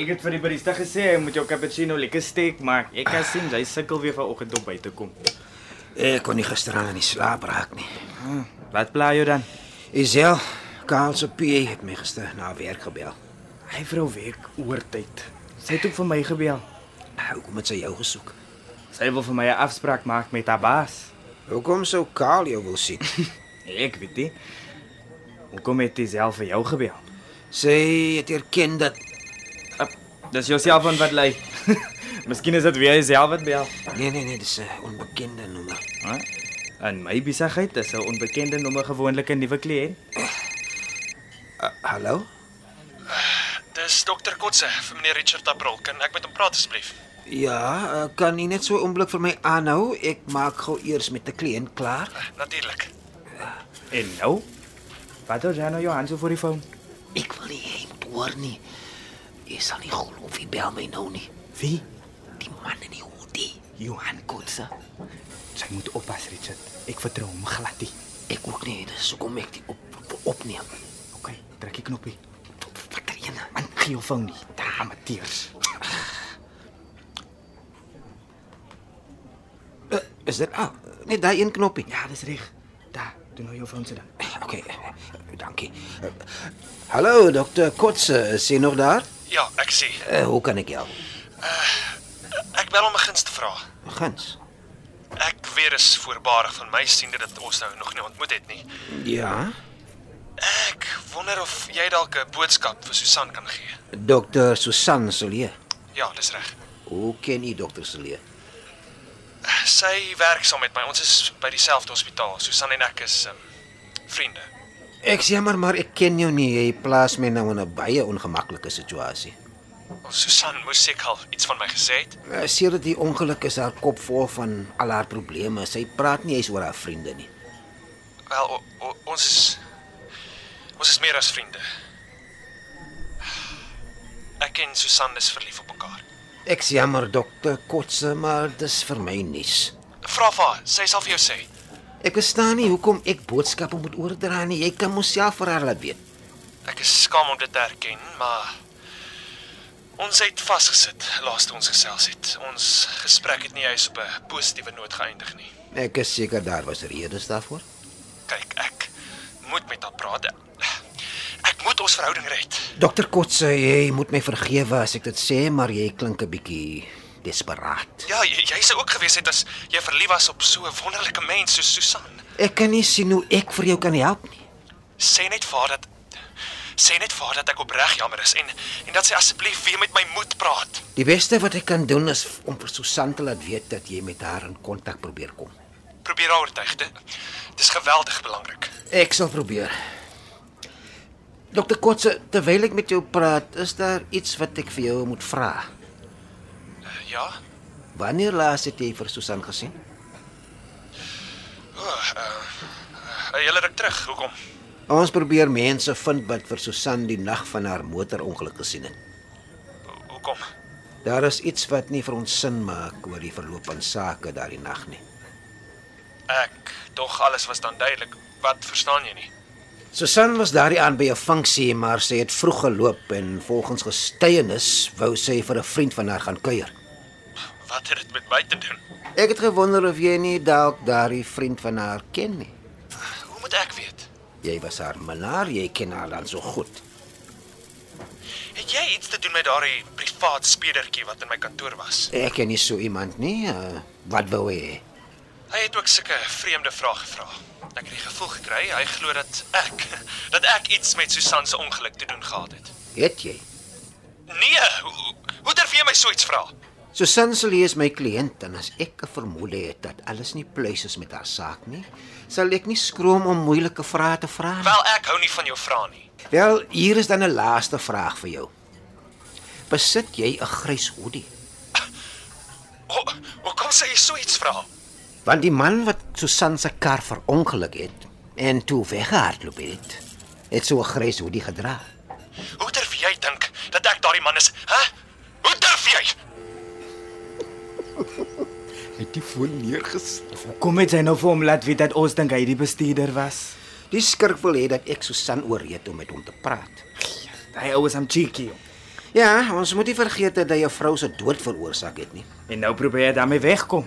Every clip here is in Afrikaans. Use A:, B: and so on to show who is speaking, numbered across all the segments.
A: Ek het vir die barista gesê hy moet jou cappuccino lekker steek maak. Jy kan sien hy sukkel weer vanoggend om by te kom.
B: Ek kon nie gisteraan aan die slaap raak nie.
A: Wat pla jy dan?
B: Isel, Karl se PA het my gister na werk gebel.
A: Hy vrou werk oortyd. Sy het ook vir my gebel.
B: Hoekom het sy jou gesoek?
A: Sy wil vir my 'n afspraak maak met haar baas. Nee,
B: Hoekom sou Karl jou wil sien?
A: Ek weet nie. Hoekom het jy self vir jou gebel?
B: Sy het erken dat
A: Uh, dis jou selfoon wat lei. Miskien is dit weer jy self wat bel.
B: nee nee nee, dis 'n onbekende nommer.
A: Huh? En my besigheid is 'n onbekende nommer gewoonlik 'n nuwe kliënt.
B: Uh, hallo?
C: Dis dokter Kotse vir meneer Richard April. Kan ek met hom praat asseblief?
B: Ja, uh, kan u net so 'n oomblik vir my aanhou? Ek maak gou eers met 'n kliënt klaar.
C: Natuurlik.
A: En nou? Wat doen jy nou jou hand so voor die foon?
B: Ek wil nie hê hy hoor nie. Jy sal nie glo of hy bel my nou nie.
A: Wie?
B: Die man in die hoodie, Johan Kotse.
A: Sy moet oppas, Richard. Ek vertrou hom glad nie.
B: Ek ook dus nie, dis hoekom ek dit op, op opneem.
A: OK, trek die knoppie.
B: Wat er ene man
A: Gee jou foon nie, daai amateurs.
B: Uh, is dit ah, net daai een knoppie.
A: Ja, dis reg. Daar, doen nou jou foon se dan.
B: Okay, dankie. Eh, Hallo dokter Kotse, is jy nog daar?
C: Ja, ek sê.
B: Uh, hoe kan ek help?
C: Ek bel om 'n guns te vra.
B: Guns.
C: Ek weet dis voorbarig van my siende dat ons nou nog nie ontmoet het nie.
B: Ja.
C: Ek wonder of jy dalk 'n boodskap vir Susan kan gee.
B: Dokter Susan Solie.
C: Ja, dis reg.
B: Hoe ken jy dokter Solie?
C: Sy werk saam met my. Ons is by dieselfde hospitaal. Susan en ek is um, vriende.
B: Ek sê maar maar ek ken jou nie. Jy plaas my nou in 'n baie ongemaklike situasie.
C: Ons Susan moes seker al iets van my gesê het.
B: Eh, Sedert die ongeluk is haar kop vol van al haar probleme. Sy praat nie eens oor haar vriende nie.
C: Wel, o, o, ons is ons is meer as vriende. Ek en Susan is verlief op mekaar.
B: Ek sê maar dokter Kotse, maar dis vir my nuus.
C: Vra vir haar, sy sal vir jou sê.
B: Ek verstaan nie hoekom ek boodskappe moet oordra nie. Jy kan mos self vir haar laat weet.
C: Ek is skaam om dit te erken, maar ons het vasgesit laaste ons gesels het. Ons gesprek het nie juis op 'n positiewe noot geëindig nie.
B: Ek is seker daar was redes daarvoor.
C: Kyk, ek moet met haar praat. Ek moet ons verhouding red.
B: Dokter Kotse, jy moet my vergewe as ek dit sê, maar jy klink 'n bietjie desperaat.
C: Ja, jy, jy sou ook gewees het as jy verlief was op so 'n wonderlike mens soos Susan.
B: Ek kan nie sien hoe ek vir jou kan help nie.
C: Sê net vir haar dat sê net vir haar dat ek opreg jammer is en en dat sy asseblief weer met my moet praat.
B: Die beste wat ek kan doen is om vir Susan te laat weet dat jy met haar in kontak probeer kom.
C: Probeer haar oortuig. Dit dis geweldig belangrik.
B: Ek sal probeer. Dokter Kotse, terwyl ek met jou praat, is daar iets wat ek vir jou moet vra.
C: Uh, ja.
B: Wanneer laas het jy vir Susan gesien?
C: O, oh, uh, 'n hele ruk terug. Hoekom?
B: Ons probeer mense vind wat vir Susan die nag van haar motorongeluk gesien het.
C: Ho- Hoekom?
B: Daar is iets wat nie vir ons sin maak oor die verloop van sake daardie nag nie.
C: Ek dog alles was dan duidelik. Wat verstaan jy nie?
B: Susan was daardie aan by 'n funksie, maar sy het vroeg geloop en volgens getuienis wou sy vir 'n vriend van haar gaan kuier.
C: Wat het dit met my te doen?
B: Ek het gewonder of jy nie dalk daardie vriend van haar ken nie.
C: Hoe moet ek weet?
B: Jy was haar minnaar, jy ken haar dan so goed.
C: Het jy iets te doen met daardie privaat spedertjie wat in my kantoor was?
B: Ek ken nie so iemand nie. Uh, wat wou hy?
C: Hy het ook sulke vreemde vrae gevra. Ek het die gevoel gekry hy glo dat ek dat ek iets met Susan se ongeluk te doen gehad het.
B: Het jy?
C: Nee, hoe, hoe- hoe durf jy my so iets vra?
B: Susan Celie is my kliënt en as ek 'n vermoede het dat alles nie pluis is met haar saak nie, sal ek nie skroom om moeilike vrae te vra nie.
C: Wel, ek hou nie van jou vrae nie.
B: Wel, hier is dan 'n laaste vraag vir jou. besit jy 'n grys hoodie.
C: Ho, hoekom sê jy so iets vra?
B: Want die man wat Susan se kar verongeluk het en toe weggehardloop het, het so 'n grys hoodie gedra.
C: Hoe durf jy dink dat ek daardie man is? Hæ? Hoe durf jy?
D: Hy het die foon neergesit.
A: Hoekom het hy nou vir hom laat weet dat ons dink hy die bestuurder was?
B: Die skurk wil hê dat ek Susan ooreed om met hom te praat.
A: Ja, Hy oues hom cheeky. joh.
B: Ja, ons moet nie vergeet dat hy 'n vrou se dood veroorsaak het nie.
A: En nou probeer hy daarmee wegkom.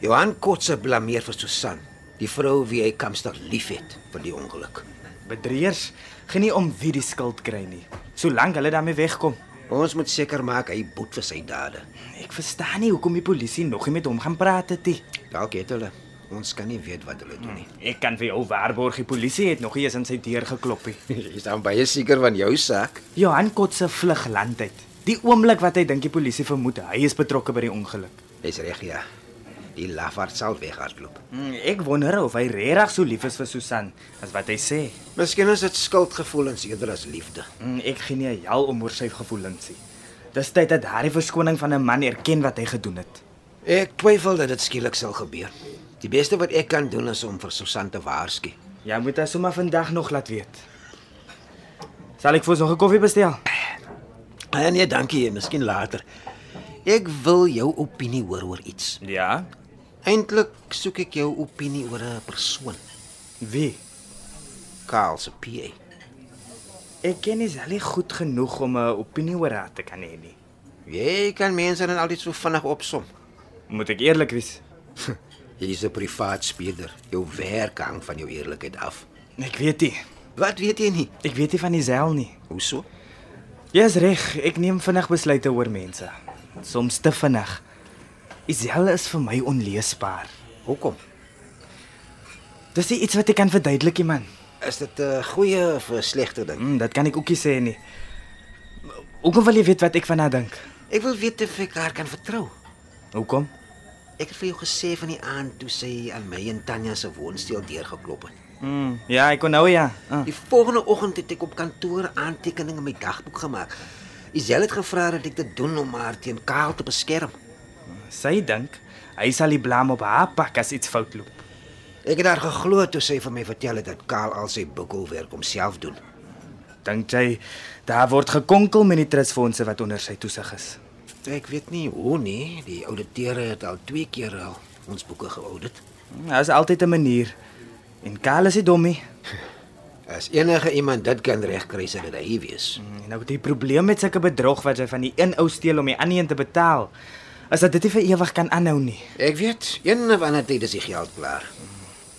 B: Johan Kotse blameer vir Susan, die vrou wie hy kamstig liefhet vir die ongeluk.
A: Bedrieërs, genie om wie die skuld kry nie, solank hulle daarmee wegkom.
B: Ons moet seker maak hy boet vir sy dade.
A: Ek verstaan nie hoekom die polisie nog nie met hom gaan praat het nie.
B: Dalk het hulle. Ons kan nie weet wat hulle doen nie.
A: Ek kan vir jou waarborg die polisie het nog nie eens aan sy deur geklop nie.
B: Jy staan baie seker van jou saak.
A: Johan Kotse vlug land uit. Die oomblik wat hy dink die polisie vermoed hy is betrokke by die ongeluk.
B: Dis reg ja. Die lafaard sal weghardloop.
A: Hmm, Ek wonder of hy regtig so lief is vir Susan as wat hy sê.
B: Miskien is dit skuldgevoelens eerder as liefde.
A: Hmm, Ek gee nie 'n jal om oor sy gevoelens nie. Dis tyd dat hy die verskoning van 'n man erken wat hy gedoen het.
B: Ek twyfel dat dit skielik sal gebeur. Die beste wat ek kan doen is om vir Susan te waarsku.
A: Jy moet haar sommer vandag nog laat weet. Sal ek vir ons nog 'n koffie bestel?
B: Ah, nee, dankie, miskien later. Ek wil jou opinie hoor oor iets.
A: Ja.
B: Eintlik soek ek jou opinie oor 'n persoon,
A: Wie?
B: Karl se PA.
A: Ek ken nie Sally goed genoeg om 'n opinie oor haar te kan hê nie.
B: Jy kan mense dan altyd so vinnig opsom.
A: Moet ek eerlik wees?
B: Jy is 'n privaat speurder. Jou werk hang van jou eerlikheid af.
A: Ek weet nie.
B: Wat weet jy nie?
A: Ek weet nie van die Sel nie.
B: Hoeso?
A: Jy's reg, ek neem vinnig besluite oor mense. Soms te vinnig. Isel is vir my onleesbaar.
B: Hoekom?
A: Dis nie iets wat ek kan verduidelik nie, man.
B: Is dit 'n goeie of 'n slegte ding?
A: Mm, dit kan ek ook nie sê nie. Hoekom wil jy weet wat ek van haar dink?
B: Ek wil weet of ek haar kan vertrou.
A: Hoekom?
B: Ek het vir jou gesê van die aand toe sy aan my en Tanya se woonstel deurgeklop het.
A: Mm, ja, ek kon nou ja. Uh.
B: Die volgende oggend het ek op kantoor aantekeninge in my dagboek gemaak. Isel het gevra dat ek dit doen om haar teen Karl te beskerm.
A: Sy dink hy sal die blame op haar pak as iets fout loop.
B: Ek het haar geglo toe sy vir my vertel het dat Karl al sy boekhoudwerk homself doen.
A: Dink jy daar word gekonkel met die trustfondse wat onder sy toesig is?
B: Ek weet nie hoe nie, die ouditeure het al twee keer al ons boeke geaudit.
A: Mm, Daar's altyd 'n manier. En Karl is nie dom nie.
B: As enige iemand dit kan regkry, sal dit hy wees.
A: En nou die probleem met sulke bedrog wat jy van die een ou steel om die ander een te betaal, is dat dit nie vir ewig kan aanhou nie.
B: Ek weet, een of ander tyd is die geld klaar.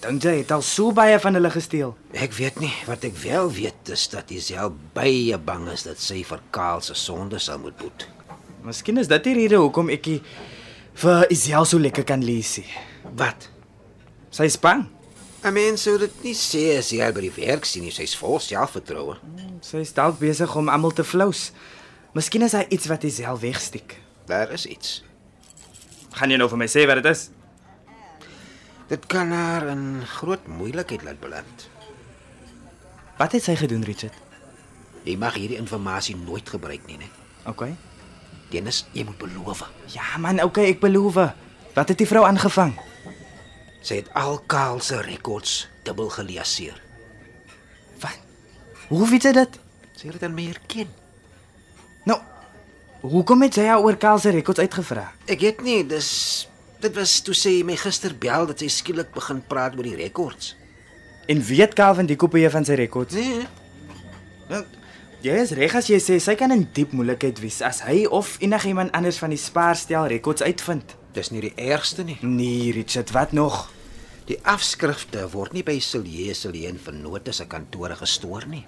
A: Dink jy het al so baie van hulle gesteel?
B: Ek weet nie wat ek wel weet is dat hy self baie bang is dat sy vir Kaal se sonde sal moet boet.
A: Miskien is dit die rede hoekom ek nie vir Isiel so lekker kan lees nie.
B: Wat?
A: Sy is bang.
B: 'n Mens sou dit nie sê as hy al by die werk sien nie, sy's vol selfvertroue.
A: Sy is dalk besig om almal te flous. Miskien is daar iets wat Isiel wegsteek.
B: Daar is iets.
A: Gaan jy nou vir my sê wat dit is?
B: Dit kan haar in groot moeilikheid laat beland.
A: Wat het sy gedoen, Richard?
B: Jy mag hierdie inligting nooit gebruik nie, né?
A: OK.
B: Dennis, jy moet beloof.
A: Ja man, OK, ek beloof. Wat het die vrou aangevang?
B: Sy het al Kaal se rekords dubbel geliaseer.
A: Wat? Hoe weet jy dit?
B: Sy het dit aan my erken.
A: Nou, hoekom het sy haar oor Karl se rekords uitgevra?
B: Ek weet nie, dis dit was toe sy my gister bel dat sy skielik begin praat oor die rekords.
A: En weet Calvin die kopie van sy rekords?
B: Nee,
A: Nou, Jy is reg as jy sê sy kan in diep moeilikheid wees as hy of enigiemand anders van die spaarstel rekords uitvind.
B: dis nie die ergste nie.
A: Nee, Richard, wat nog?
B: Die afskrifte word nie by Silje Silje en Vernote se kantore gestoor nie.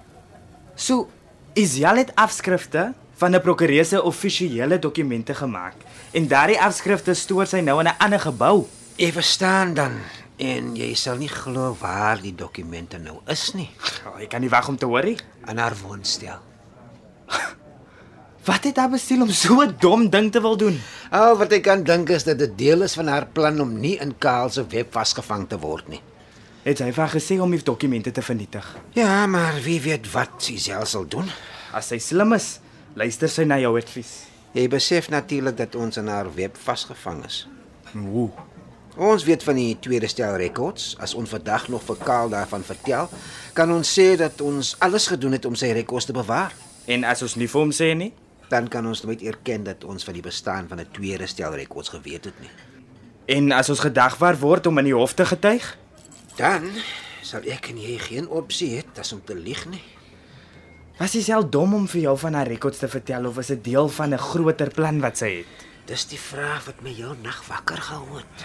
A: So, Isjal het afskrifte van 'n prokureur se offisiële dokumente gemaak en daardie afskrifte stoor sy nou in 'n ander gebou.
B: Jy verstaan dan en jy sal nie glo waar die dokumente nou is nie.
A: Oh, ek kan nie wag om te hoor nie.
B: Aan haar woonstel.
A: Wat het hy bestiel om so 'n dom ding te wil doen?
B: Al wat ek kan dink is dat dit deel is van haar plan om nie in Kaal se web vasgevang te word nie.
A: Het hy vir haar gesê om die dokumente te vernietig?
B: Ja, maar wie weet wat sy self sal doen?
A: As hy slim is, Luister sy na jou advies.
B: Jy besef natuurlik dat ons in haar web vasgevang is.
A: Ooh.
B: Ons weet van die tweede stel rekords. As ons vandag nog vir Kaal daarvan vertel, kan ons sê dat ons alles gedoen het om sy rekords te bewaar.
A: En as ons nie vir hom sê nie,
B: Dan kan ons nooit erken dat ons van die bestaan van 'n tweede stel rekords geweet het nie.
A: en as ons gedagvaar word om in die hof te getuig,
B: Dan sal ek en jy geen opsie hê as om te lieg nie.
A: was sy self dom om vir jou van haar rekords te vertel of is dit deel van 'n groter plan wat sy het?
B: Dis die vraag wat my heel nag wakker gehou het.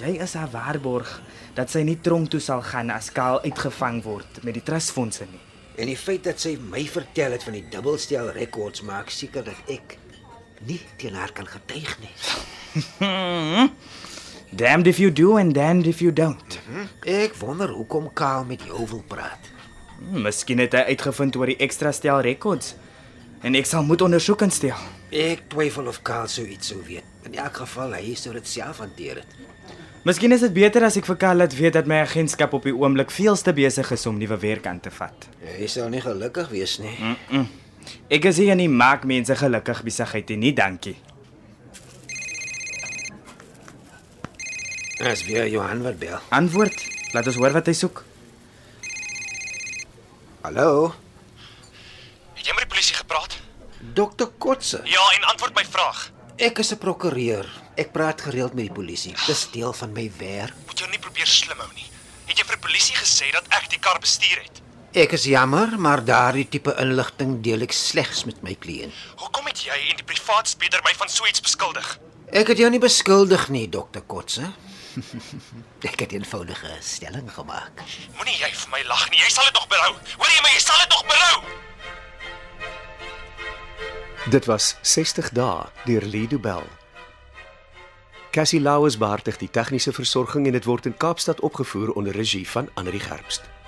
A: Jy is haar waarborg dat sy nie tronk toe sal gaan as Kaal uitgevang word met die trustfondse nie.
B: En die feit dat sy my vertel het van die dubbelstel rekords maak seker dat ek nie teen haar kan getuig nie.
A: Damned if you do and damned if you don't.
B: Ek wonder hoekom Kaal met jou wil praat.
A: Hm, Miskien het hy uitgevind oor die ekstra stel rekords en ek sal moet ondersoek instel.
B: Ek twyfel of Kaal sou iets sou weet. In elk geval hy sou dit self hanteer het.
A: Miskien is dit beter as ek vir Kaal laat weet dat my agentskap op die oomblik veelste besig is om nuwe werk aan te vat.
B: Hy sal nie gelukkig wees nie.
A: Ek is hier in die maak mense gelukkig besigheid en nie dankie.
B: As weer Johan wat bel.
A: Antwoord, laat ons hoor wat hy soek.
B: Hallo,
C: Het jy met die polisie gepraat?
B: Dr. Kotse.
C: Ja, en antwoord my vraag.
B: Ek is 'n prokureur. Ek praat gereeld met die polisie. Dis deel van my werk.
C: Moet jou nie probeer slim hou nie. Het jy vir die polisie gesê dat ek die kar bestuur het?
B: Ek is jammer, maar daardie tipe inligting deel ek slegs met my kliënt.
C: Hoekom het jy en die privaatspeler my van so iets beskuldig?
B: Ek het jou nie beskuldig nie, Dr. Kotse. ek het 'n eenvoudige stelling gemaak.
C: Moenie jy vir my lag nie. Jy sal dit nog berou. Hoor jy my? Jy sal dit nog berou.
D: Dit was 60 dae deur Lido Bell. Cassie Lauers beheer die tegniese versorging en dit word in Kaapstad opgevoer onder regie van Anri Gerbst.